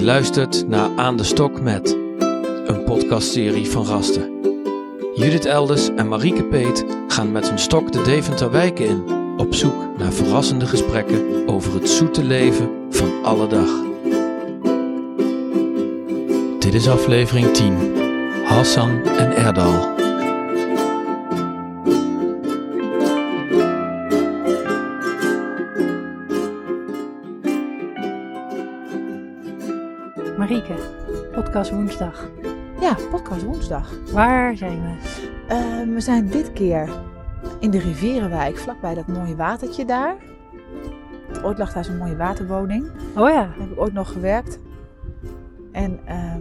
luistert naar Aan de Stok met, een podcastserie van Rasten. Judith Elders en Marieke Peet gaan met hun stok de Deventer wijken in, op zoek naar verrassende gesprekken over het zoete leven van alle dag. Dit is aflevering 10, Hassan en Erdal. Marieke, podcast woensdag. Ja, podcast woensdag. Waar zijn we? Eh, we zijn dit keer in de Rivierenwijk, vlakbij dat mooie watertje daar. Ooit lag daar zo'n mooie waterwoning. Oh ja, Daar heb ik ooit nog gewerkt. En ehm,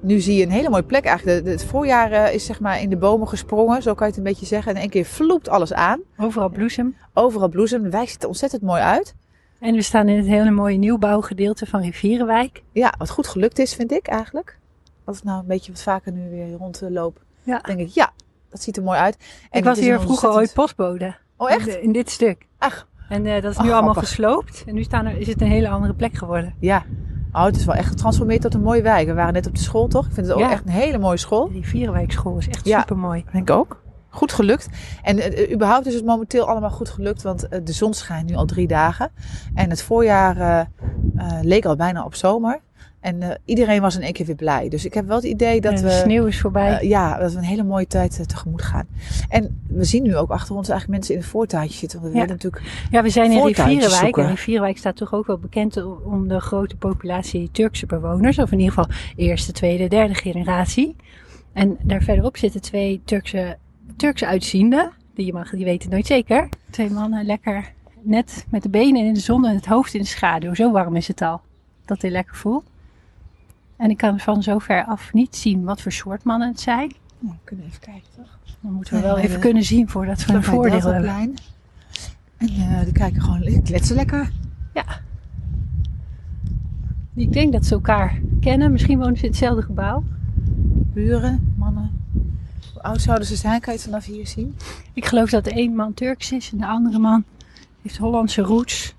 nu zie je een hele mooie plek eigenlijk. De- de- het voorjaar eh, is zeg maar in de bomen gesprongen, zo kan je het een beetje zeggen. En in één keer vloept alles aan. overal bloesem. Overal bloesem. De wijk ziet er ontzettend mooi uit. En we staan in het hele mooie nieuwbouwgedeelte van Rivierenwijk. Ja, wat goed gelukt is, vind ik eigenlijk. Als ik nou een beetje wat vaker nu weer rondloop, Ja. denk ik, ja, dat ziet er mooi uit. En ik het was is hier een vroeger ooit ontzettend- postbode. Oh, echt? In, de- in dit stuk. Ach, En eh, dat is Oh, nu allemaal grappig. gesloopt. En nu staan er, is het een hele andere plek geworden. Ja. Oh, het is wel echt getransformeerd tot een mooie wijk. We waren net op de school, toch? Ik vind het ook Ja. echt een hele mooie De school. Rivierenwijkschool is echt Ja. supermooi. Denk ik ook. Goed gelukt. En eh, überhaupt is het momenteel allemaal goed gelukt, want eh, de zon schijnt nu al drie dagen. En het voorjaar eh, eh, leek al bijna op zomer. En eh, iedereen was in één keer weer blij. Dus ik heb wel het idee dat En we... De sneeuw is voorbij. eh, ja, dat we een hele mooie tijd eh, tegemoet gaan. En we zien nu ook achter ons eigenlijk mensen in het voortuintje zitten. Want we Ja. willen natuurlijk... ja, we zijn in voortuintjes Rivierenwijk. En zoeken. Rivierenwijk staat toch ook wel bekend o- om de grote populatie Turkse bewoners. Of in ieder geval eerste, tweede, derde generatie. En daar verderop zitten twee Turkse, Turkse uitzienden. Die, je mag, die weten het nooit zeker. Twee mannen lekker net met de benen in de zon en het hoofd in de schaduw. Zo warm is het al. Dat hij lekker voelt. En ik kan van zover af niet zien wat voor soort mannen het zijn. Nou, we kunnen even kijken, toch? Dan moeten we wel Ja, even eh, kunnen zien voordat we een Vlakbij voordeel hebben. Deltaplein. En eh, die kijken gewoon kletsen lekker. Ik denk dat ze elkaar kennen. Misschien wonen ze in hetzelfde gebouw. buren, mannen. Hoe oud zouden ze zijn? Kan je het vanaf hier zien? Ik geloof dat de een man Turks is en de andere man heeft Hollandse roots.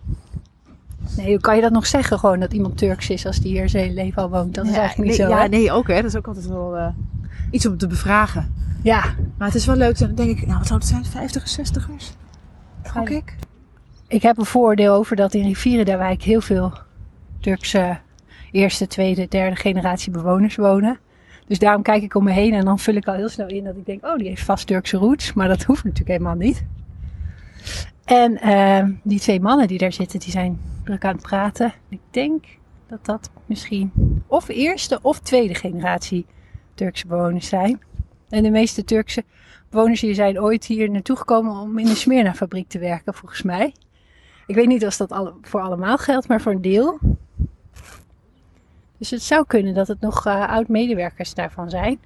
Nee, hoe kan je dat nog zeggen gewoon dat iemand Turks is als die hier zijn hele leven al woont? Dat is Ja, eigenlijk niet nee, zo. Ja, hè? nee, ook hè. Dat is ook altijd wel eh, iets om te bevragen. ja, Maar het is wel leuk. Dan denk ik, nou wat zou het zijn? 50 60ers? Gok ik. ik heb een voordeel over dat in Rivierendawijk heel veel Turkse eerste, tweede, derde generatie bewoners wonen. Dus daarom kijk ik om me heen en dan vul ik al heel snel in dat ik denk, oh, die heeft vast Turkse roots. Maar dat hoeft natuurlijk helemaal niet. En ehm, die twee mannen die daar zitten, die zijn druk aan het praten. Ik denk dat dat misschien of eerste of tweede generatie Turkse bewoners zijn. En de meeste Turkse bewoners hier zijn ooit hier naartoe gekomen om in de Smirna-fabriek te werken, volgens mij. Ik weet niet of dat alle- voor allemaal geldt, maar voor een deel. Dus het zou kunnen dat het nog eh, oud-medewerkers daarvan zijn.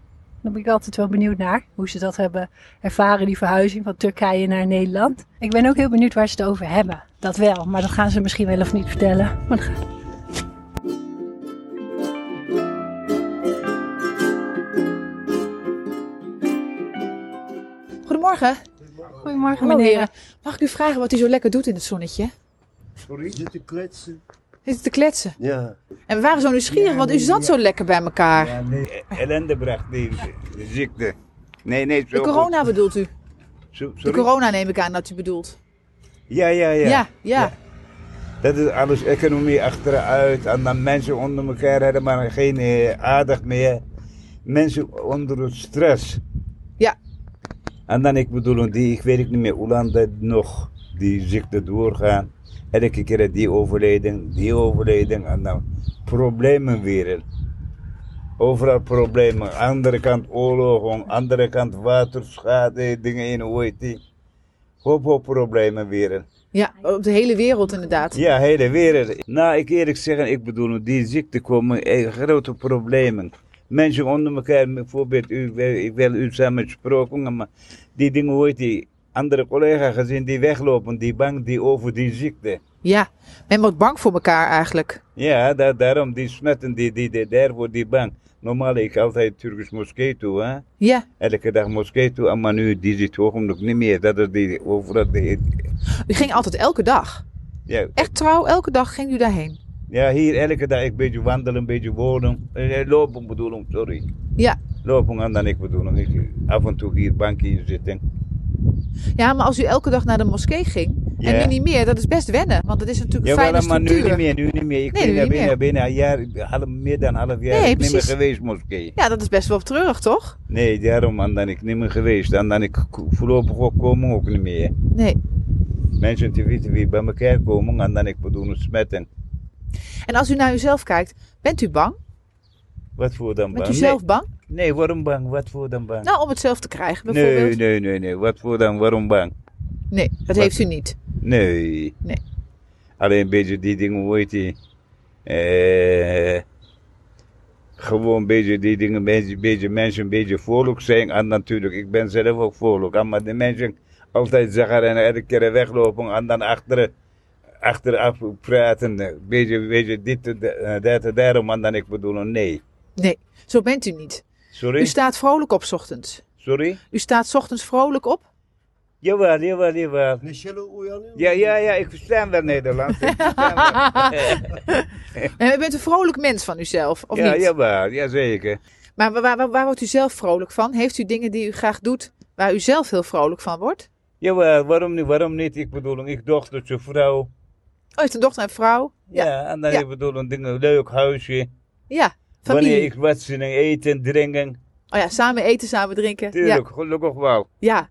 Daar ben ik altijd wel benieuwd naar. Hoe ze dat hebben ervaren, die verhuizing van Turkije naar Nederland. Ik ben ook heel benieuwd waar ze het over hebben. Dat wel, maar dat gaan ze misschien wel of niet vertellen. Maar dat ga- Goedemorgen. Goedemorgen Hallo, meneer. heren. Mag ik u vragen wat u zo lekker doet in het zonnetje? Sorry? Zit te kletsen? Zitten te kletsen. Ja. En we waren zo nieuwsgierig, Ja, want u nee, zat ja. zo lekker bij elkaar. nee, ellende bracht die de ziekte. Nee, nee, zo De corona bedoelt u? goed. Zo- De sorry? corona neem ik aan dat u bedoelt. Ja, ja, ja, Ja, ja. ja. Dat is alles economie achteruit. En dan mensen onder elkaar hebben maar geen eh, aandacht meer. Mensen onder het stress. Ja. En dan, ik bedoel, die, ik weet het niet meer hoe lang dat nog, die ziekte doorgaan. Elke keer die overleden, die overleden. En dan problemen weer. Overal problemen. Andere kant oorlog, aan andere kant waterschade, dingen in, hoe heet die. Hoop, hoop problemen weer. op de hele wereld inderdaad. Ja, hele wereld. Nou, ik eerlijk zeggen, ik bedoel, die ziekte komen eh, grote problemen. Mensen onder elkaar, bijvoorbeeld, u, eh, ik wil u samen gesproken, maar die dingen hoort die andere collega gezien die weglopen, die bang die over die ziekte. Ja, men wordt bang voor elkaar eigenlijk. Ja, da- daarom die smetten, die, die, die, daarvoor die bang. Normaal, ik altijd Turkisch moskee toe, hè. Ja. Elke dag moskee toe, maar nu, die zit gewoon nog niet meer. Dat is die overal, die, U ging altijd elke dag. ja, Echt trouw, elke dag ging u daarheen. Ja, hier elke dag een beetje wandelen, een beetje wonen. Eh, Lopen bedoel ik, sorry. Ja. Lopen en dan ik bedoel ik. ik Af en toe hier bankje zitten. Ja, maar als u elke dag naar de moskee ging en Ja. nu niet meer, dat is best wennen. Want dat is natuurlijk een Jawel, fijne maar nu structuur. niet meer, nu niet meer. Ik Nee, ben nu daar niet binnen, binnen een jaar, half, meer dan een half Nee, jaar ik niet meer precies. geweest moskee. Ja, dat is best wel treurig, toch? Nee, daarom en dan ik niet meer geweest. En dan ik ko- voorlopig ook komen ook niet meer. Nee. Mensen te weten wie bij elkaar komen en dan ik bedoel smetten. En als u naar uzelf kijkt, bent u bang? Wat voor dan Bent bang? u zelf bang? Nee, nee, waarom bang? Wat voor dan bang? Nou, om het zelf te krijgen, bijvoorbeeld. nee, nee, nee, nee. Wat voor dan? Waarom bang? Nee, dat heeft u niet. Nee. Nee. Alleen een beetje die dingen, hoe heet die? Eh, gewoon een beetje die dingen, een beetje, beetje mensen, een beetje volk zijn. En natuurlijk, ik ben zelf ook volk. En Maar de mensen altijd zeggen en elke keer weglopen en dan achter, achteraf praten. Een beetje, beetje dit, en dat en dat en daarom. En dan ik bedoel, nee. Nee, zo bent u niet. U Sorry? staat vrolijk op 's ochtends. Sorry? U staat 's ochtends vrolijk op. Jawel, jawel, jawel. Michelle uyanıyor. Ja, ja, ja, ik versta wel Nederlands. Ik verstaan wel. En u bent een vrolijk mens van uzelf, of ja, niet? jawel, jazeker. Maar waar, waar, waar wordt u zelf vrolijk van? Heeft u dingen die u graag doet waar u zelf heel vrolijk van wordt? Oh, Jawel, waarom niet? Waarom niet? Ik bedoel, ik dochtertje, vrouw. Oh, u heeft een dochter en vrouw? Ja, en dan ja. ik bedoel, een ding, een leuk huisje. Ja, Wanneer familie. ik wat zin in eten, drinken. Oh ja, samen eten, samen drinken. Ja, Tuurlijk, gelukkig wel. ja,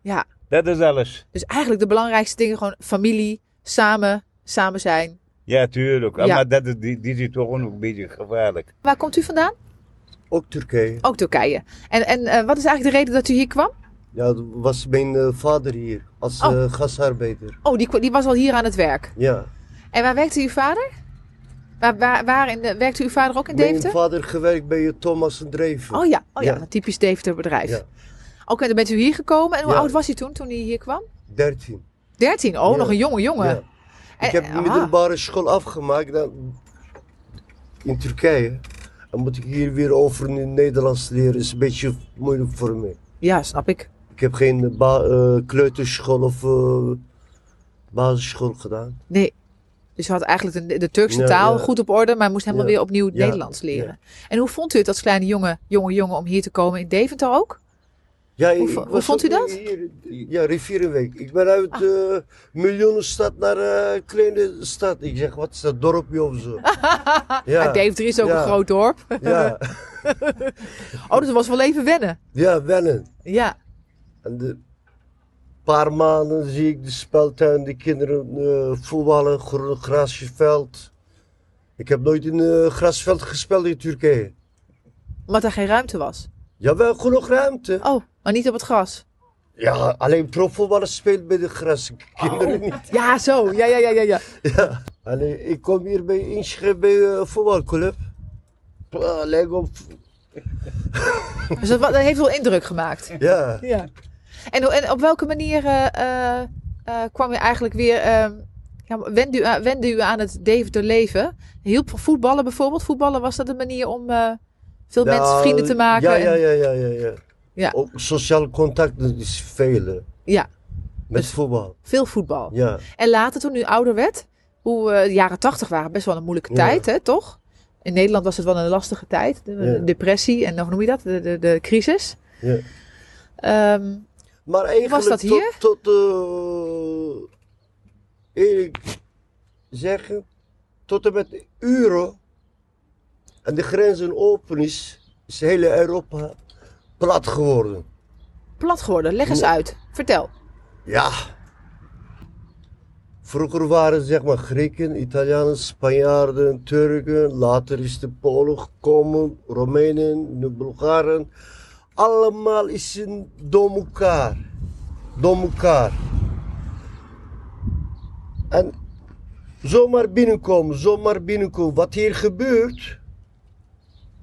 ja. Dat is alles. Dus eigenlijk de belangrijkste dingen gewoon familie, samen, samen zijn. Ja, tuurlijk. Ja. Maar dat is, die, die is toch ook een beetje gevaarlijk. Waar komt u vandaan? Ook Türkiye. Ook Turkije. En, en eh, wat is eigenlijk de reden dat u hier kwam? Ja, was mijn eh, vader hier als Oh. eh, gastarbeider. Oh, die, kwa- die was al hier aan het werk. Ja. En waar werkte uw vader? Waar, waar, waar in de- werkte uw vader ook in Mijn Deventer? vader gewerkt bij eh, Thomas en Dreven. Oh ja, oh ja, Ja. een typisch Deventer bedrijf. Ja. Oké, dan bent u hier gekomen. En hoe Ja. oud was hij toen, toen hij hier kwam? 13. 13. Oh, Ja. nog een jonge jongen. Ja. Ik En- heb de ah, middelbare school afgemaakt dan in Turkije. Dan moet ik hier weer over in het Nederlands leren. Is een beetje moeilijk voor mij. Ja, snap ik. Ik heb geen ba- eh, kleuterschool of eh, basisschool gedaan. Nee. Dus u had eigenlijk de, de Turkse Ja, taal ja. goed op orde, maar moest helemaal Ja. weer opnieuw het Ja, Nederlands leren. En hoe vond u het als kleine jongen, jonge jongen om hier te komen in Deventer ook? Ja, Hoe ik vo- hoe was vond u ook dat? Ah. hier- ja, Rivierenwijk. Ik ben uit eh, miljoenenstad naar eh, kleine stad. Ik zeg, wat is dat dorpje of zo? Ja. ja, Deventer is ook Ja. een groot dorp. ja, Oh, dat was wel even wennen. ja, wennen. Ja. En de paar maanden zie ik de speeltuin, de kinderen eh, voetballen, groen grasveld. Ik heb nooit in eh grasveld gespeeld in Turkije. Omdat er geen ruimte was. Jawel, genoeg ruimte. Oh, maar niet op het gras. Ja, alleen profvoetballers spelen bij de gras, Oh. kinderen niet. Ja, zo. Ja, ja, ja, ja. ja. Ja. Alleen, ik kom hier bij inschrijven bij een voetbalclub. Pla, lijk op. Dus dat, wa- dat heeft wel indruk gemaakt. Ja. Ja. En, hoe- en op welke manier eh, eh, eh, kwam u eigenlijk weer... eh, ja, wende, u, aan- wende u aan het Deventer leven? Hielp voetballen bijvoorbeeld? Voetballen, was dat een manier om eh, veel Ja, mensen vrienden te maken? Nou, Ja, en- ja, ja, ja, ja. ja. Ja. Ook sociaal contact dat is vele. Ja. Met Dus- voetbal. Veel voetbal. Ja. En later, toen u ouder werd, hoe eh, de jaren tachtig waren best wel een moeilijke Ja. tijd, hè, toch? In Nederland was het wel een lastige tijd. De, de Ja. depressie en hoe noem je dat? De, de, de crisis. ja. Ehm, Maar eigenlijk Was dat hier? tot, tot eh, eerlijk zeggen, tot en met euro en de grenzen open is, is hele Europa plat geworden. plat geworden. Leg eens Ja. uit. Vertel. Ja. Vroeger waren zeg maar Grieken, Italianen, Spanjaarden, Turken. Later is de Polen gekomen, Roemenen, de Bulgaren. Allemaal is in door elkaar. Door elkaar. En zomaar binnenkomen, zomaar binnenkomen. Wat hier gebeurt,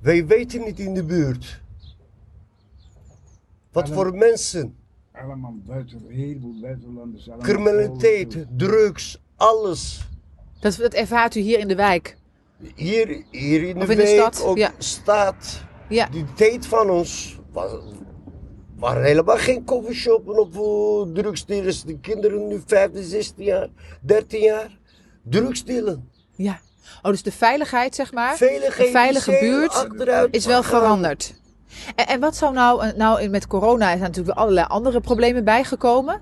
wij weten niet in de buurt. Wat voor mensen. Allemaal buiten, een heleboel buitenlanders. allemaal criminaliteit, Polen. drugs, alles. Dat, dat ervaart u hier in de wijk. Hier, hier in de, Of in de wijk, stad, ook ja. staat. Ja. Die tijd van ons was, waren helemaal geen coffeeshop of eh, drugsdealers. De kinderen nu 15, 16 jaar, 13 jaar, drugsdealen. Ja. Oh, dus de veiligheid, zeg maar, Vele een veilige GGD buurt achteruit is wel gegaan. veranderd. En, en wat zou nou, eh, nou in- met corona zijn natuurlijk weer allerlei andere problemen bijgekomen.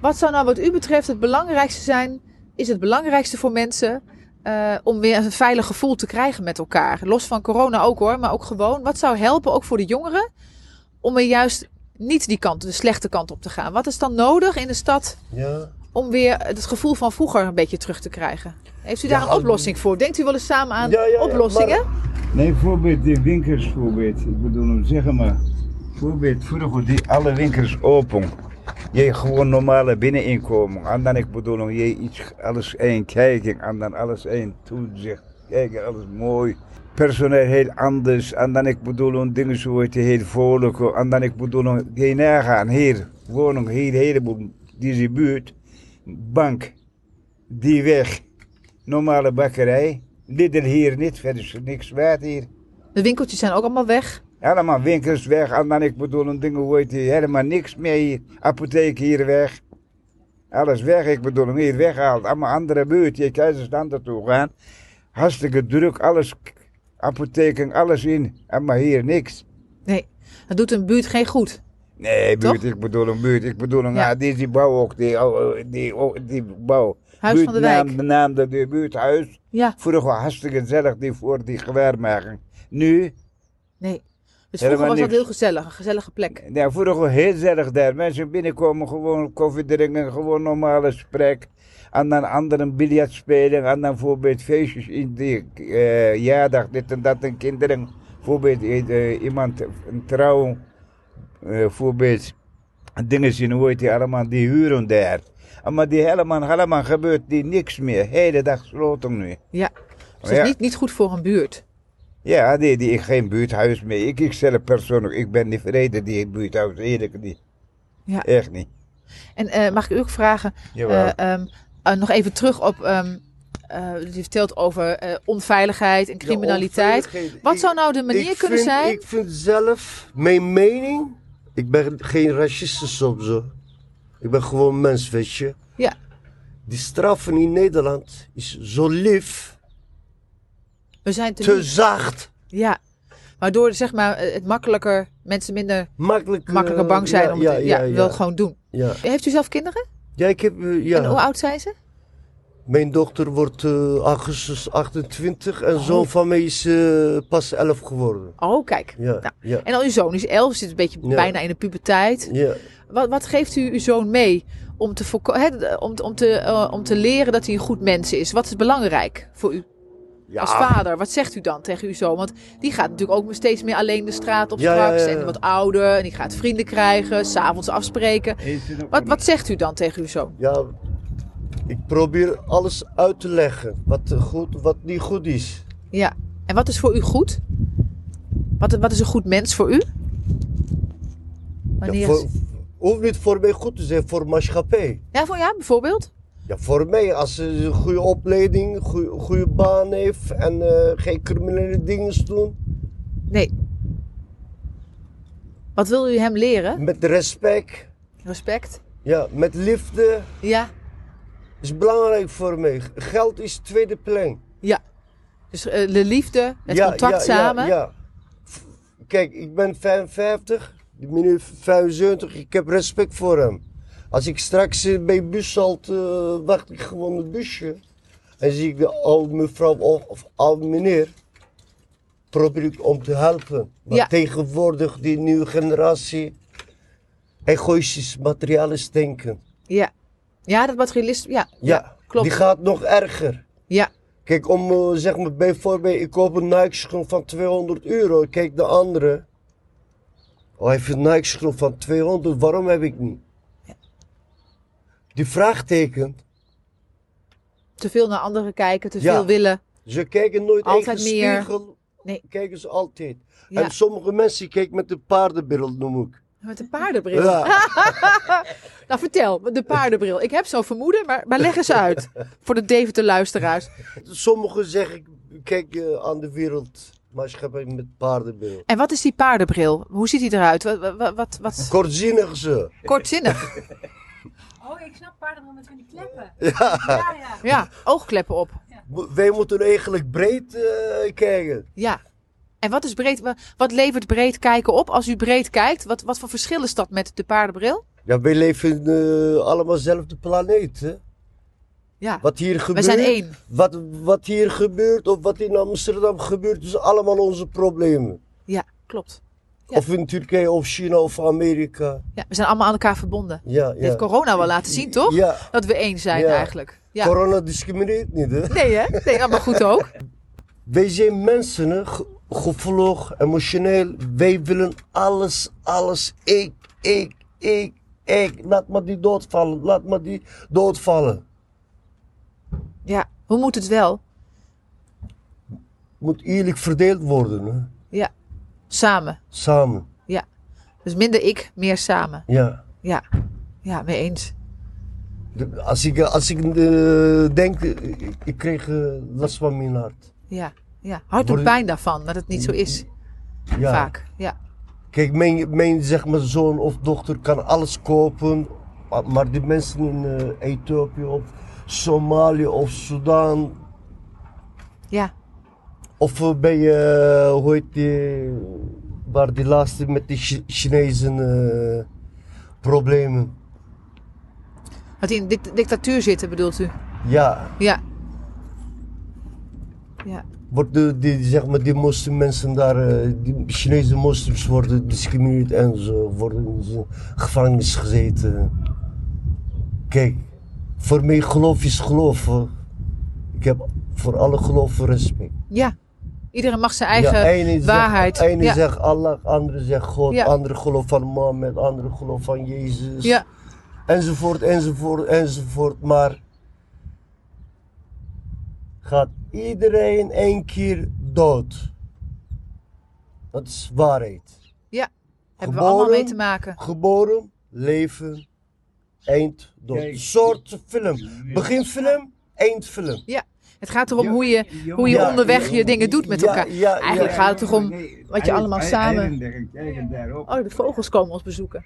Wat zou nou wat u betreft het belangrijkste zijn, is het belangrijkste voor mensen eh, om weer een veilig gevoel te krijgen met elkaar? Los van corona ook hoor, maar ook gewoon. Wat zou helpen, ook voor de jongeren, om er juist niet die kant, de slechte kant op te gaan? Wat is dan nodig in de stad Ja. om weer het gevoel van vroeger een beetje terug te krijgen? Heeft u daar Ja, een oplossing voor? Denkt u wel eens samen aan Ja, ja, ja, oplossingen? Nee, voorbeeld, die winkels voorbeeld. Ik bedoel hem, zeg maar. Voorbeeld, vroeger die alle winkels open. Je gewoon normale binneninkomen. En dan ik bedoel, je iets, alles één kijken. En dan alles één toezicht. Kijken, alles mooi. Personeel heel anders. En dan ik bedoel, dingen zo heet heel vrolijk. En dan ik bedoel, geen nagaan. Hier, woning, hier, een heleboel. Deze buurt. Bank. Die weg. Normale bakkerij. Lidl hier niet, verder is er niks waard hier. De winkeltjes zijn ook allemaal weg. Helemaal winkels weg. En dan ik bedoel, een ding hoe heet die, helemaal niks meer hier. Apotheek hier weg. Alles weg, ik bedoel, hem hier weggehaald. Allemaal andere buurt, je keizerstand naartoe gaan. Hartstikke druk, alles, k- apotheken, alles in. En maar hier niks. Nee, dat doet een buurt geen goed. Nee, Toch? buurt, ik bedoel een buurt, ik bedoel een, Ja. ja. die, die bouw ook, die, oh, oh, die, oh, die bouw. Huis buurt, van de wijk. Naam, de naam, de, de buurthuis. Ja, Vroeger hartstikke gezellig, die voor die gewaarmaking. Nu, nee. Dus Helemaal vroeger was dat niks. heel gezellig, een gezellige plek. Dus Ja, nou, vroeger heel gezellig daar. Mensen binnenkomen, gewoon koffie drinken, gewoon normale gesprek. En dan anderen biljart spelen. En dan bijvoorbeeld feestjes in de eh jaardag, dit en dat. En kinderen, bijvoorbeeld eh, eh, iemand, een trouw, eh bijvoorbeeld. Dingen zien, hoe heet die allemaal, die huren daar. En Maar die helemaal, helemaal gebeurt die niks meer. Hele dag sloten nu. Oh Ja. Oh Dus dat Ja. is niet, niet goed voor een buurt. Ja, nee, die, ik geen buurthuis meer. Ik, ik zelf persoonlijk, ik ben niet vrede die buurthuis, eerlijk niet. Ja. Echt niet. En eh, mag ik u ook vragen, Jawel. eh, ehm, eh, nog even terug op, ehm eh, u vertelt over eh, onveiligheid en criminaliteit. onveiligheid. Wat Ik- zou nou de manier ik kunnen vind- zijn? Ik vind zelf, mijn mening, ik ben geen raciste soms hoor. Ik ben gewoon mens, weet je. Ja. Die straffen in Nederland is zo lief, We zijn te, te zacht, Ja. Waardoor zeg maar, eh, het makkelijker, mensen minder makkelijk. eh, makkelijker bang zijn ja, om ja, het ja, ja, ja. wel gewoon doen. Ja. Heeft u zelf kinderen? Ja, ik heb, eh, ja. En hoe oud zijn ze? Mijn dochter wordt eh, augustus 28 en zoon van mij is eh, pas 11 geworden. Oh, kijk. Ja, Nou, ja, En al uw zoon is elf, zit een beetje Ja. bijna in de puberteit. ja. Wat, wat geeft u uw zoon mee om te, voorko- hè, om, te- om, te, eh, om te leren dat hij een goed mens is? Wat is belangrijk voor u Ja. als vader? Wat zegt u dan tegen uw zoon? Want die gaat natuurlijk ook steeds meer alleen de straat op Ja, ja, straks. ja, ja. En wat ouder. En die gaat vrienden krijgen. S'avonds afspreken. Wat, wat zegt u dan tegen uw zoon? Ja, ik probeer alles uit te leggen. Wat eh, goed, wat niet goed is. Ja. En wat is voor u goed? Wat, wat is een goed mens voor u? Ja, Wanneer... voor, hoeft niet voor mij goed te zijn, voor maatschappij. ja, voor, ja bijvoorbeeld? Ja, voor mij, als ze een goede opleiding, goede, goede baan heeft en eh, geen criminele dingen doen. Nee. Wat wil u hem leren? Met respect, Respect. ja, met liefde. Ja. Is belangrijk voor mij. Geld is tweede plan. Dus eh, de liefde, het contact samen. Ja, F- Kijk, ik ben 55, de meneer 75, ik heb respect voor hem. Als ik straks eh, bij bus zat, eh, wacht ik gewoon het busje. En zie ik de oude mevrouw of, of oude meneer. Probeer ik om te helpen. Maar Ja. tegenwoordig, die nieuwe generatie, egoïstisch, materialistisch denken. Ja. Ja, dat materialisme. Ja. Ja, klopt. die gaat nog erger. Ja. Kijk, om eh, zeg maar bijvoorbeeld, ik koop een Nike-schoen van 200 euro. Kijk, de andere. Oh, hij heeft een Nike-schoen van 200, waarom heb ik niet? Die vraagteken, Te veel naar anderen kijken, te Ja. veel willen. ze kijken nooit Altijd tegen de meer. spiegel. Nee. Kijken ze altijd. Ja. En sommige mensen kijken met de paardenbril, noem ik. Met de paardenbril. Ja. Nou, vertel, de paardenbril. Ik heb zo'n vermoeden, maar, maar leg eens uit. Voor de Deventer luisteraars. Sommigen zeggen, kijk eh, aan de wereld, maatschappij met paardenbril. En wat is die paardenbril? Hoe ziet hij eruit? Wat, wat, wat, wat... Kortzinnig ze. Kortzinnig. Oh, ik snap paarden met van die kleppen. Ja, ja. Ja, oogkleppen op. Ja. mo- wij moeten eigenlijk breed eh, kijken. Ja. En wat, is breed, wa- wat levert breed kijken op? Als u breed kijkt, wat, wat voor verschil is dat met de paardenbril? Ja, wij leven eh, allemaal zelf de planeet. Hè? Ja, Wat hier gebeurt. we zijn één. Wat, wat hier gebeurt of wat in Amsterdam gebeurt, is allemaal onze problemen. Ja, klopt. Ja. Of in Turkije of China of Amerika. Ja, we zijn allemaal aan elkaar verbonden. Ja, ja. Dit heeft corona wel laten zien, toch? Ja, Dat we één zijn Ja. eigenlijk. Ja. corona discrimineert niet. Hè? Nee, hè? Nee, maar goed ook. Wij zijn mensen, hè? ge- gevoelig, emotioneel. Wij willen alles, alles. Ik, ik, ik, ik. Laat maar die doodvallen, laat maar die doodvallen. Ja, hoe moet het wel? Moet eerlijk verdeeld worden, hè? Samen. samen. Dus minder ik, meer samen. Ja. Ja, ja mee eens. De- Als ik, als ik eh, denk, eh, ik, ik kreeg eh, last van mijn hart. Ja, ja. Hard op Worden- pijn daarvan, dat het niet zo is. Ja. Vaak. Ja. Kijk, mijn, mijn zeg maar, zoon of dochter kan alles kopen. Maar, maar die mensen in eh, Ethiopië of Somalië of Sudan. Ja. Of eh, bij, eh, hoe heet die, waar die laatste met die Chi- Chinezen eh, problemen. Dat die in dict- dictatuur zitten, bedoelt u? Ja, Ja. worden die, zeg maar, die moslimmensen daar, eh, die Chinese moslims worden gediscrimineerd en zo, worden in zo'n gevangenis gezeten. Kijk, voor mij geloof is geloof. hoor. Ik heb voor alle geloven respect. Ja. Iedereen mag zijn eigen... ene zegt- waarheid. ene Ja. zegt Allah, andere zegt God, Ja. andere geloof van Mohammed, andere geloof van Jezus. Ja. Enzovoort, enzovoort, enzovoort. Maar gaat iedereen één keer dood? Dat is waarheid. Hebben we allemaal mee Geboren. te maken. Geboren, leven, eind, dood. Kijk. soort film. Beginfilm, eindfilm. Het gaat erom hoe je, hoe je Ja, onderweg je dingen doet met elkaar. ja, Eigenlijk gaat het toch om wat je allemaal samen- daarop. Oh, de vogels komen ons bezoeken.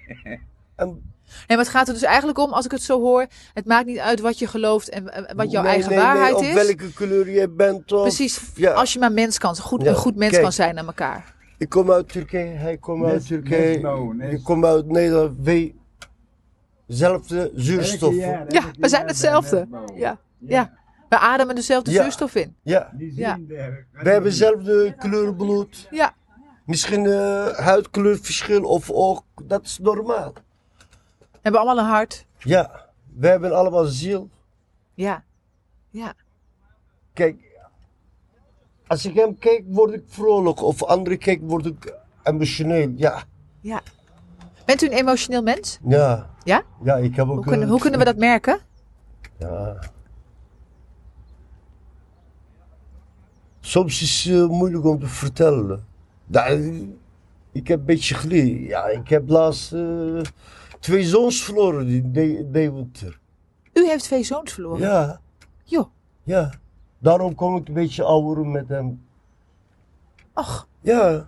En- Nee, maar het gaat er dus eigenlijk om, als ik het zo hoor, het maakt niet uit wat je gelooft en eh, wat jouw Nee, eigen nee, nee, waarheid Of is. welke kleur je bent. Of, Precies, ja. als je maar mens kan, goed, Ja, een goed mens kijk. kan zijn naar elkaar. Ik kom uit Turkije, hij komt Net- uit Turkije. net nou, net. Ik kom uit Nederland. Wij, zelfde zuurstof. Ja, Ja, we zijn hetzelfde. Ja, ja. We ademen dezelfde Ja. zuurstof in. Ja, Ja. we hebben zelfde kleur bloed. Ja. Misschien eh huidkleurverschil of oog, dat is normaal. We hebben allemaal een hart. Ja, we hebben allemaal ziel. Ja, Kijk, als ik hem kijk, word ik vrolijk. Of andere kijk, word ik emotioneel. Ja, ja. Bent u een emotioneel mens? ja. Ja? Ja, ik heb ook... Hoe kunnen, eh, hoe kunnen we dat merken? Ja. Soms is het eh, moeilijk om te vertellen. Ja, ik heb een beetje geleden. Ja, ik heb laatst eh, twee zoons verloren in De- Deventer. U heeft twee zoons verloren. Ja. Joh. Ja. Daarom kom ik een beetje ouder met hem. Och, Ja.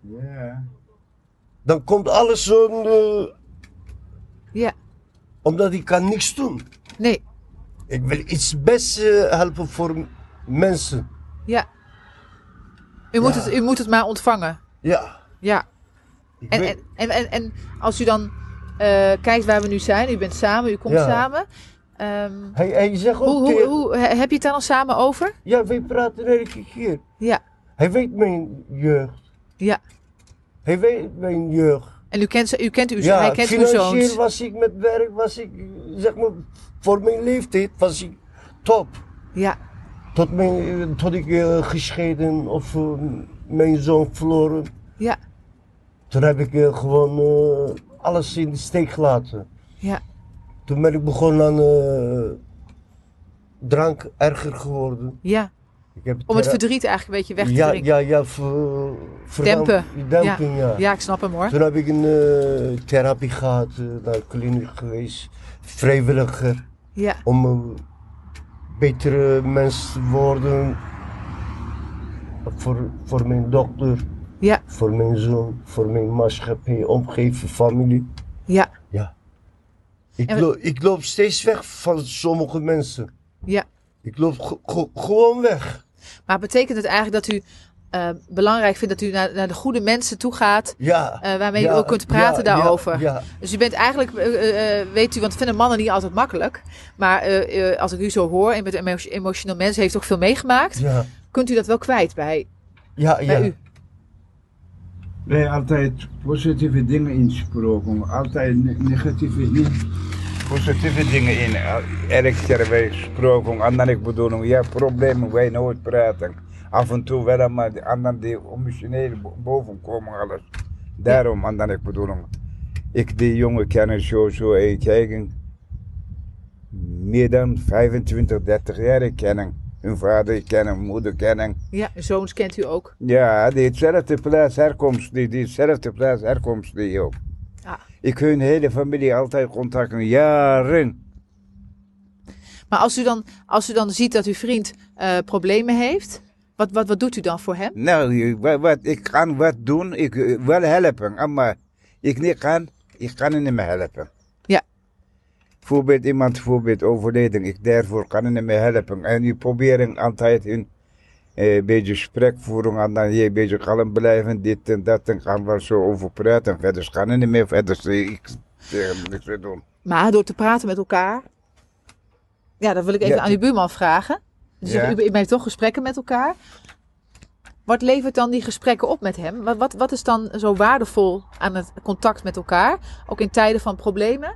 Ja. Dan komt alles zo'n... eh, Ja. Omdat ik kan niks doen. nee. Ik wil iets best eh, helpen voor m- mensen. U moet, Ja. het, u moet het maar ontvangen. Ja. Ja. Ik En, weet- en, en, en, en als u dan eh, kijkt waar we nu zijn, u bent samen, u komt Ja. samen. Ehm, Hij, hij zegt ook hoe, hoe, tegen- hoe, he- heb je het daar al samen over? Ja, wij praten elke keer. Ja. Hij weet mijn jeugd. Ja. Hij weet mijn jeugd. En u kent, ze- u kent uw, ja, Dus hij kent uw financieel zoons. was ik met werk, was ik, zeg maar, voor mijn leeftijd was ik top. Ja, Tot, mijn, eh, tot ik eh, gescheiden of eh, mijn zoon verloren. Ja. Toen heb ik eh, gewoon eh, alles in de steek gelaten. Ja. Toen ben ik begonnen aan eh, drank erger geworden. ja. Ik heb Om het thera- verdriet eigenlijk een beetje weg te ja, drinken. ja, ja, ver, verdamp- Dempen. Dempen, ja. Ja, ik snap hem hoor. Toen heb ik een eh, therapie gehad, eh, naar de kliniek geweest, vrijwilliger, Ja, om een betere mens te worden. Voor, voor mijn dochter, ja, voor mijn zoon, voor mijn maatschappij, omgeving, familie. ja, Ja. Ik, En we- loop, ik loop steeds weg van sommige mensen. Ja. Ik Ik loop ge- ge- gewoon weg. Maar betekent het eigenlijk dat u eh, belangrijk vindt dat u naar, naar de goede mensen toe gaat, Ja. eh, waarmee u Ja, ook kunt praten ja, ja, daarover? Ja, Dus u bent eigenlijk, eh, eh, eh, weet u, want vinden mannen niet altijd makkelijk. Maar eh, eh, als ik u zo hoor, en met een emo- emotioneel mens heeft toch veel meegemaakt. ja, Kunt u dat wel kwijt bij, ja. bij ja. u? Nee, altijd positieve dingen insproken. Altijd ne- negatieve niet. positieve dingen in. eh, Erg ter gesproken, anderen ik bedoel, ja, problemen wij nooit praten. Af en toe wel, maar de anderen die emotioneel bo- boven komen alles. Daarom, anderen ik bedoel, ik die jongen kennen zo, zo, ik kijken. Meer dan 25, 30 jaar kennen. Hun vader kennen, moeder kennen. Ja, uw zoons kent u ook. Ja, diezelfde plaats herkomst, die, diezelfde plaats herkomst die ook. Ja. Ik hun hele familie altijd contacten, jaren. Maar als u dan, als u dan ziet dat uw vriend eh, problemen heeft, wat, wat, wat doet u dan voor hem? Nou, je- wa- wat, ik kan wat doen, ik eh, wil helpen, maar ik niet kan, ik kan niet meer helpen. Ja. Bijvoorbeeld iemand bijvoorbeeld overleden, ik daarvoor kan niet meer helpen. En je probeert altijd een eh, beetje gesprek voeren, en dan je een beetje kalm blijven, dit en dat, en gaan we zo over praten. Verder kan ik niet meer, verder zie ik eh, niks meer doen. Maar door te praten met elkaar. Ja, dat wil ik even Ja. aan uw buurman vragen. Dus Ja. u, u heeft toch gesprekken met elkaar. Wat levert dan die gesprekken op met hem? Wat, wat, wat is dan zo waardevol aan het contact met elkaar? Ook in tijden van problemen?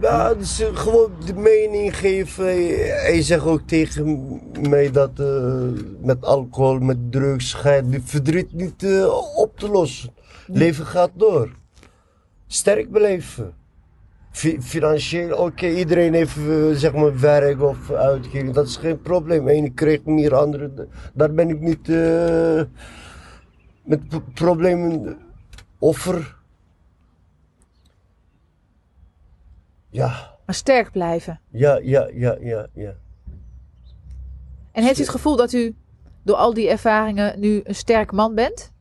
Nou, dus eh, gewoon de mening geven. Hij zegt ook tegen mij dat eh, met alcohol, met drugs, schijnt die verdriet niet eh, op te lossen. Leven gaat door. Sterk beleven. Fi- financieel, oké, iedereen heeft eh, zeg maar werk of uitkering, dat is geen probleem. Eén kreeg meer, andere. Daar ben ik niet eh, met pro- problemen eh, offer. Ja. Maar sterk blijven. Ja, ja, ja, ja, ja. En heeft u het gevoel dat u door al die ervaringen nu een sterk man bent?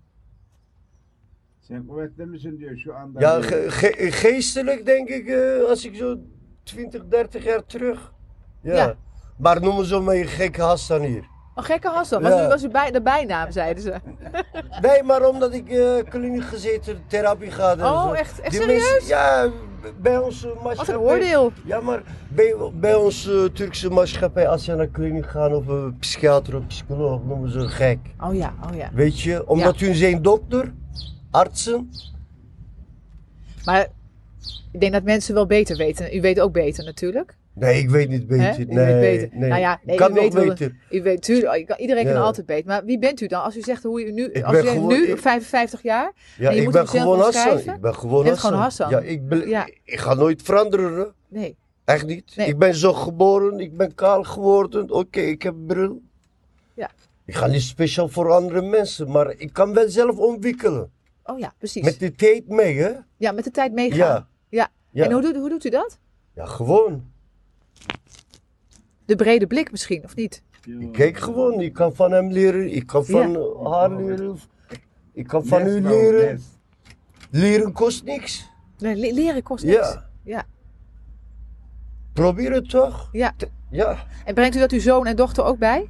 Zeg, wat hebben ze dus zo aan dat Ja, ding? ge- ge- geestelijk denk ik, eh, als ik zo 20, 30 jaar terug. Ja. Ja. Maar noemen ze mij een gekke Hassan hier. Een Oh, gekke Hassan, was, Ja. u, was u bij, de bijnaam, zeiden ze. Nee, maar omdat ik eh kliniek gezeten, therapie ga. en Oh, zo. echt? Echt Die serieus? mensen- ja, b- bij onze maatschappij. Wat een oordeel. Ja, maar bij, bij onze Turkse maatschappij, als je naar kliniek gaat of een psychiater of psycholoog, noemen ze gek. Oh ja, oh ja. Weet je, omdat hun zijn dokter, artsen. Maar ik denk dat mensen wel beter weten. U weet ook beter natuurlijk. Nee, ik weet niet Hè? beter. U Nee, weet beter. Nee. Nou ja, nee, kan u nog weet wel- beter. U weet, tuurlijk, oh, je kan- iedereen kan Ja. altijd beter. Maar wie bent u dan? Als u zegt hoe u nu, Ik als ben u zegt gewoon- nu ik- 55 jaar, Ja, En je ik moet ben hem zelf gewoon Hassan. omschrijven? Ik ben gewoon Je Hassan. bent gewoon Hassan. Ja, ik, ben, Ja. ik- ik ga nooit veranderen. hè. nee. Echt niet. Nee. Ik ben zo geboren, ik ben kaal geworden. Oké, ik heb bril. Ja. Ik ga niet speciaal voor andere mensen, maar ik kan wel zelf ontwikkelen. Oh ja, precies. Met de tijd mee, hè? ja, met de tijd meegaan. Ja. Ja. Ja. En hoe doet, hoe doet u dat? Ja, gewoon. De brede blik misschien, of niet? Ik kijk gewoon. Ik kan van hem leren, ik kan van eh, haar leren. Ik kan van u nou, leren. Leren kost niks. Nee, le- leren kost niks. Ja. Ja. Probeer het toch? Ja. Ja. En brengt u dat uw zoon en dochter ook bij?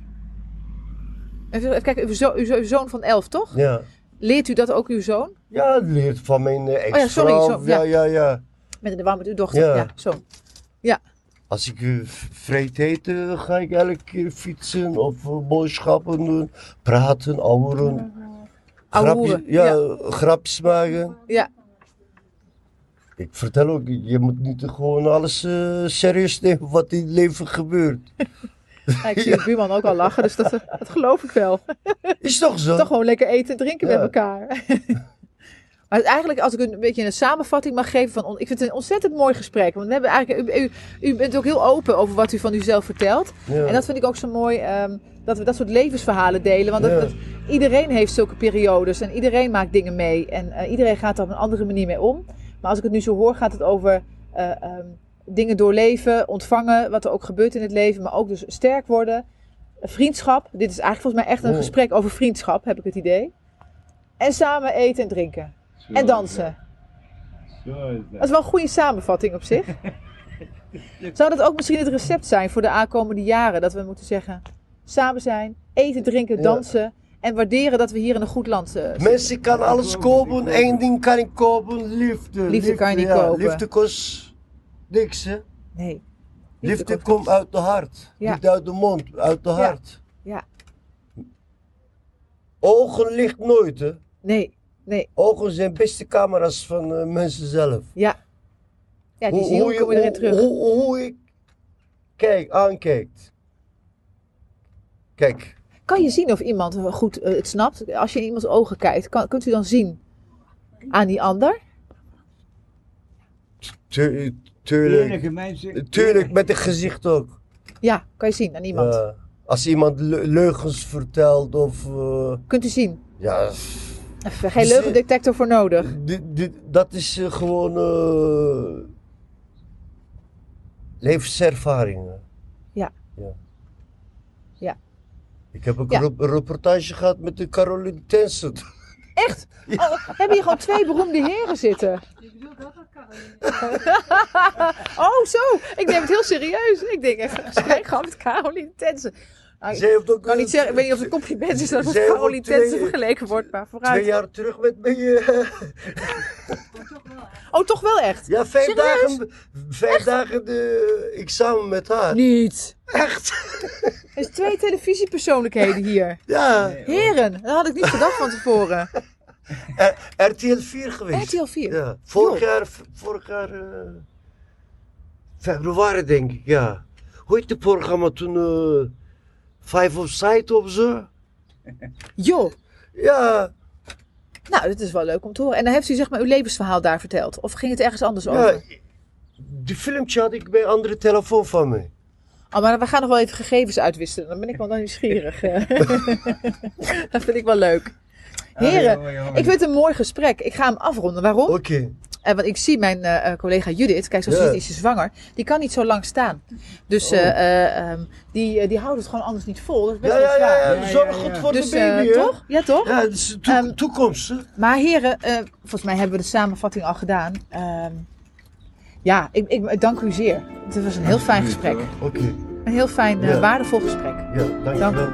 Even even kijken, uw, zo- uw zo- uw zoon van 11, toch? Ja. Leert u dat ook uw zoon? Ja, het leert van mijn eh, Oh ja, sorry, ex-vrouw. zo, ja, ja, ja. Met de warm met uw dochter? Ja. zo. Als ik eh, vreed heet, eh, ga ik elke keer fietsen of eh, boodschappen doen. Praten, ouwen. Ouwehoeren, ja, grapjes maken. Ja. Ik vertel ook, je moet niet gewoon alles eh, serieus nemen wat in het leven gebeurt. Ja, ik zie de buurman ook al lachen, dus dat, dat geloof ik wel. Is toch zo? Toch gewoon lekker eten en drinken Ja. met elkaar. maar eigenlijk, als ik een beetje een samenvatting mag geven van... on- Ik vind het een ontzettend mooi gesprek. Want we hebben eigenlijk, u, u, u bent ook heel open over wat u van uzelf vertelt. Ja. En dat vind ik ook zo mooi, ehm, dat we dat soort levensverhalen delen. Want dat- Ja. dat, iedereen heeft zulke periodes en iedereen maakt dingen mee. En eh, iedereen gaat er op een andere manier mee om. Maar als ik het nu zo hoor, gaat het over eh, ehm, dingen doorleven, ontvangen, wat er ook gebeurt in het leven. Maar ook dus sterk worden, vriendschap. Dit is eigenlijk volgens mij echt een Mm. gesprek over vriendschap, heb ik het idee. En samen eten en drinken. En dansen. Zo is Dat is wel een goede samenvatting op zich. Zou dat ook misschien het recept zijn voor de aankomende jaren? Dat we moeten zeggen, samen zijn, eten, drinken, Ja. dansen en waarderen dat we hier in een goed land eh, zitten. Mensen kan alles kopen. Eén ding kan ik kopen. Liefde. Liefde kan je niet ja. kopen. Liefde kost niks hè. Nee. Liefde komt- komt uit de hart. Ja. Niet uit de mond, uit de hart. Ja. Ogen ligt nooit hè. Nee, Ogen zijn beste camera's van eh, mensen zelf. ja. Ja, die ziel komen erin terug. Hoe, hoe, hoe ik kijk, aankijkt. Kijk, Kan je zien of iemand eh, goed eh, het snapt? Als je in iemands ogen kijkt, kan, kunt u dan zien aan die ander? tu- tuurlijk, Enige mensen. tuurlijk met het gezicht ook. Ja, kan je zien aan iemand. Ja. als iemand le- leugens vertelt of eh, Kunt u zien. ja, Even, Geen Dus, eh, leugendetector voor nodig. dit, dit, dat is eh, gewoon eh levenservaringen. Ja. ja. Ja. Ik heb ook Ja. een rep- een reportage gehad met de Caroline Tensen. Echt? Oh, we hebben hier gewoon twee beroemde heren zitten. Oh, zo. Ik neem het heel serieus. Ik denk echt, zij gaat met Caroline Tensen. Nou, Zij heeft ook Ik kan niet eh, zeggen, ik weet niet of het een compliment is dat het Zij met wordt Caroline twee- Tensen vergeleken wordt, maar Twee vooruit. jaar terug met me. eh, Oh, toch wel echt? ja, vijf Serieus? dagen, vijf dagen de eh, examen met haar. Niet. Echt? Er is twee televisiepersoonlijkheden hier. Ja, Heren, dat had ik niet gedacht van tevoren. R- RTL 4 geweest. RTL 4. Ja, vorig Joh. jaar, vorig jaar eh, februari denk ik, ja. Hoe heet het programma toen? eh Five of Sight of zo? Joh. Ja, Nou, dat is wel leuk om te horen. En dan heeft u zeg maar uw levensverhaal daar verteld. Of ging het ergens anders over? ja. Die filmpje had ik bij een andere telefoon van me. Oh, maar we gaan nog wel even gegevens uitwisselen. Dan ben ik wel nieuwsgierig. eh. dat vind ik wel leuk. Heren, ik vind het een mooi gesprek. Ik ga hem afronden. Waarom? Oké. Eh, want ik zie mijn eh, eh, collega Judith, kijk, zoals Ja. je ziet is ze zwanger. Die kan niet zo lang staan. Dus Oh. eh, eh, ehm, die, eh, die houdt het gewoon anders niet vol. Dat is best Ja, wel ja, ja, zwaar. ja, Ja, zorg ja, goed ja. voor Dus de baby, eh, hè? toch? Ja, toch? Ja, het is de toek- Ehm, toekomst, hè? Maar heren, eh, volgens mij hebben we de samenvatting al gedaan. Ehm, ja, ik, ik, ik dank u zeer. Het was een heel fijn gesprek. Oké, Een heel fijn, eh, Ja. waardevol gesprek. ja, Dank. dankjewel.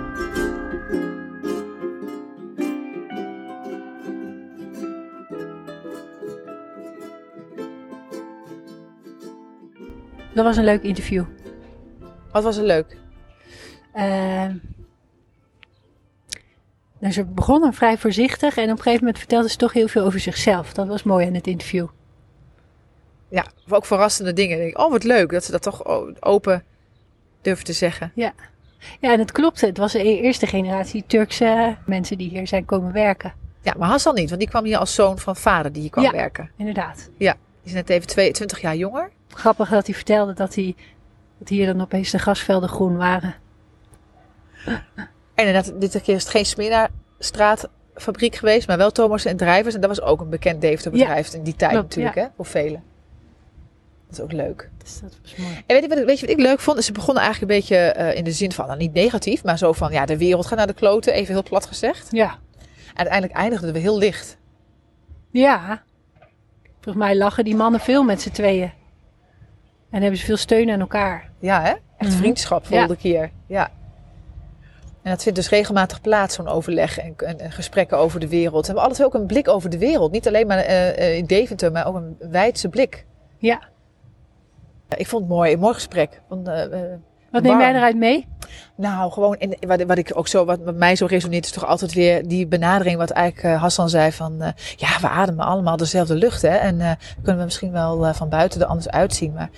Dat was een leuk interview. Wat was het leuk? Ehm, nou, ze begonnen vrij voorzichtig en op een gegeven moment vertelde ze toch heel veel over zichzelf. Dat was mooi aan het interview. Ja, ook verrassende dingen. Ik Denk, oh, wat leuk dat ze dat toch o- open durven te zeggen. Ja, en het klopte. Het was de e- eerste generatie Turkse mensen die hier zijn komen werken. Ja, maar Hassan niet, want die kwam hier als zoon van vader die hier kwam Ja. werken. Inderdaad. Die is net even twee- 20 jaar jonger. Grappig dat hij vertelde dat, hij, dat hier dan opeens de gasvelden groen waren. En inderdaad, dit keer is het geen Smeerstraatfabriek geweest, maar wel Thomas en Drijvers. En dat was ook een bekend Deventer Ja, bedrijf in die tijd klopt, natuurlijk, ja. hè? Voor velen. Dat is ook leuk. Dus dat was mooi. En weet je, wat, ik- weet je wat ik leuk vond? Ze begonnen eigenlijk een beetje eh, in de zin van, nou, niet negatief, maar zo van, ja, de wereld gaat naar de kloten, even heel plat gezegd. Ja. En uiteindelijk eindigden we heel licht. Ja. Volgens mij lachen die mannen veel met z'n tweeën. En hebben ze veel steun aan elkaar. Ja, hè? Echt Mhm. vriendschap voelde Ja. ik hier. Ja. En dat vindt dus regelmatig plaats, zo'n overleg en, en, en gesprekken over de wereld. We hebben alle twee ook een blik over de wereld. Niet alleen maar eh, eh, in Deventer, maar ook een wijdse blik. Ja. Ja, Ik vond het mooi, een mooi gesprek. Want, eh, eh, Wat neem Warm. jij eruit mee? nou, gewoon, en wat, wat ik ook zo, wat met mij zo resoneert, is toch altijd weer die benadering, wat eigenlijk eh, Hassan zei: van eh, ja, we ademen allemaal dezelfde lucht. Hè, en eh, kunnen we misschien wel eh, van buiten er anders uitzien. Maar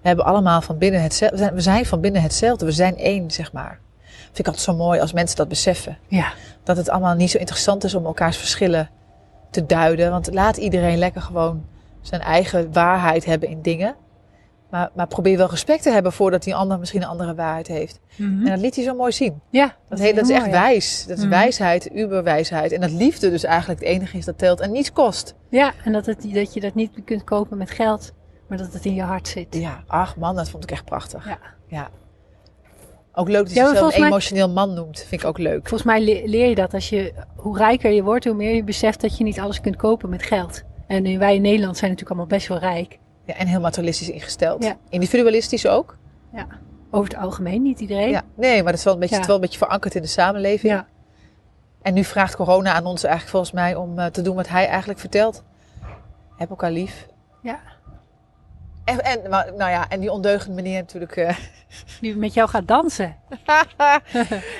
we hebben allemaal van binnen hetzelfde. We zijn, we zijn van binnen hetzelfde. We zijn één, zeg maar. Vind ik altijd zo mooi als mensen dat beseffen. Ja. Dat het allemaal niet zo interessant is om elkaars verschillen te duiden. Want laat iedereen lekker gewoon zijn eigen waarheid hebben in dingen. Maar, maar probeer wel respect te hebben voordat die ander misschien een andere waarheid heeft. Hm? En dat liet hij zo mooi zien. Ja. Dat, he- dat is heel echt mooi, ja. wijs. Dat is Mhm. wijsheid, uberwijsheid. En dat liefde dus eigenlijk het enige is dat telt en niets kost. Ja, en dat, het, dat je dat niet kunt kopen met geld, maar dat het in je hart zit. Ja, ach man, dat vond ik echt prachtig. Ja. Ja. Ook leuk dat je Ja, maar jezelf volgens een mij- emotioneel man noemt. Vind ik ook leuk. Volgens mij le- leer je dat als je, hoe rijker je wordt, hoe meer je beseft dat je niet alles kunt kopen met geld. En wij in Nederland zijn natuurlijk allemaal best wel rijk. Ja, en heel materialistisch ingesteld. Ja. Individualistisch ook. Over het algemeen, niet iedereen. Ja. Nee, maar dat is wel een beetje, Ja. het is wel een beetje verankerd in de samenleving. Ja. En nu vraagt corona aan ons eigenlijk volgens mij om eh, te doen wat hij eigenlijk vertelt. Heb elkaar lief. Ja. En, en, maar, nou ja, en die ondeugende meneer natuurlijk. eh, Die met jou gaat dansen.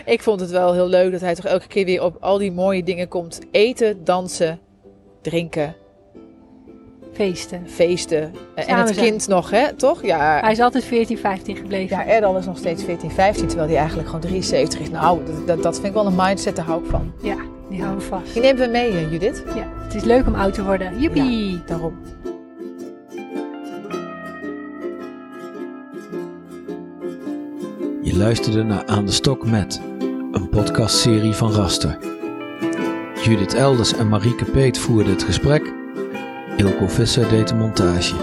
ik vond het wel heel leuk dat hij toch elke keer weer op al die mooie dingen komt. Eten, dansen, drinken, Feesten. feesten. Eh, en Samen het zijn. kind nog, hè? Toch? Ja. Hij is altijd 14, 15 gebleven. Ja, Erdal is nog steeds 14, 15, terwijl hij eigenlijk gewoon 73 is. Nou, dat, dat, dat vind ik wel een mindset, daar hou ik van. Die houden we vast. Die nemen we mee, eh, Judith. Ja, het is leuk om oud te worden. Joepie! Daarom. Je luisterde naar Aan de Stok met, een podcastserie van Raster. Judith Elders en Marieke Peet voerden het gesprek. Ilko Visser deed de montage.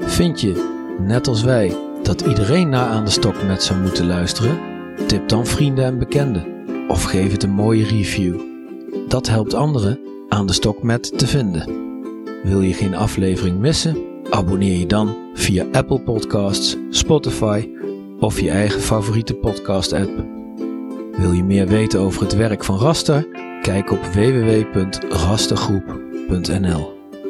Vind je, net als wij, dat iedereen naar Aan de Stok met zou moeten luisteren? Tip dan vrienden en bekenden. Of geef het een mooie review. Dat helpt anderen Aan de Stok met te vinden. Wil je geen aflevering missen? Abonneer je dan via Apple Podcasts, Spotify of je eigen favoriete podcast-app. Wil je meer weten over het werk van Raster? Kijk op www.rastergroep.nl.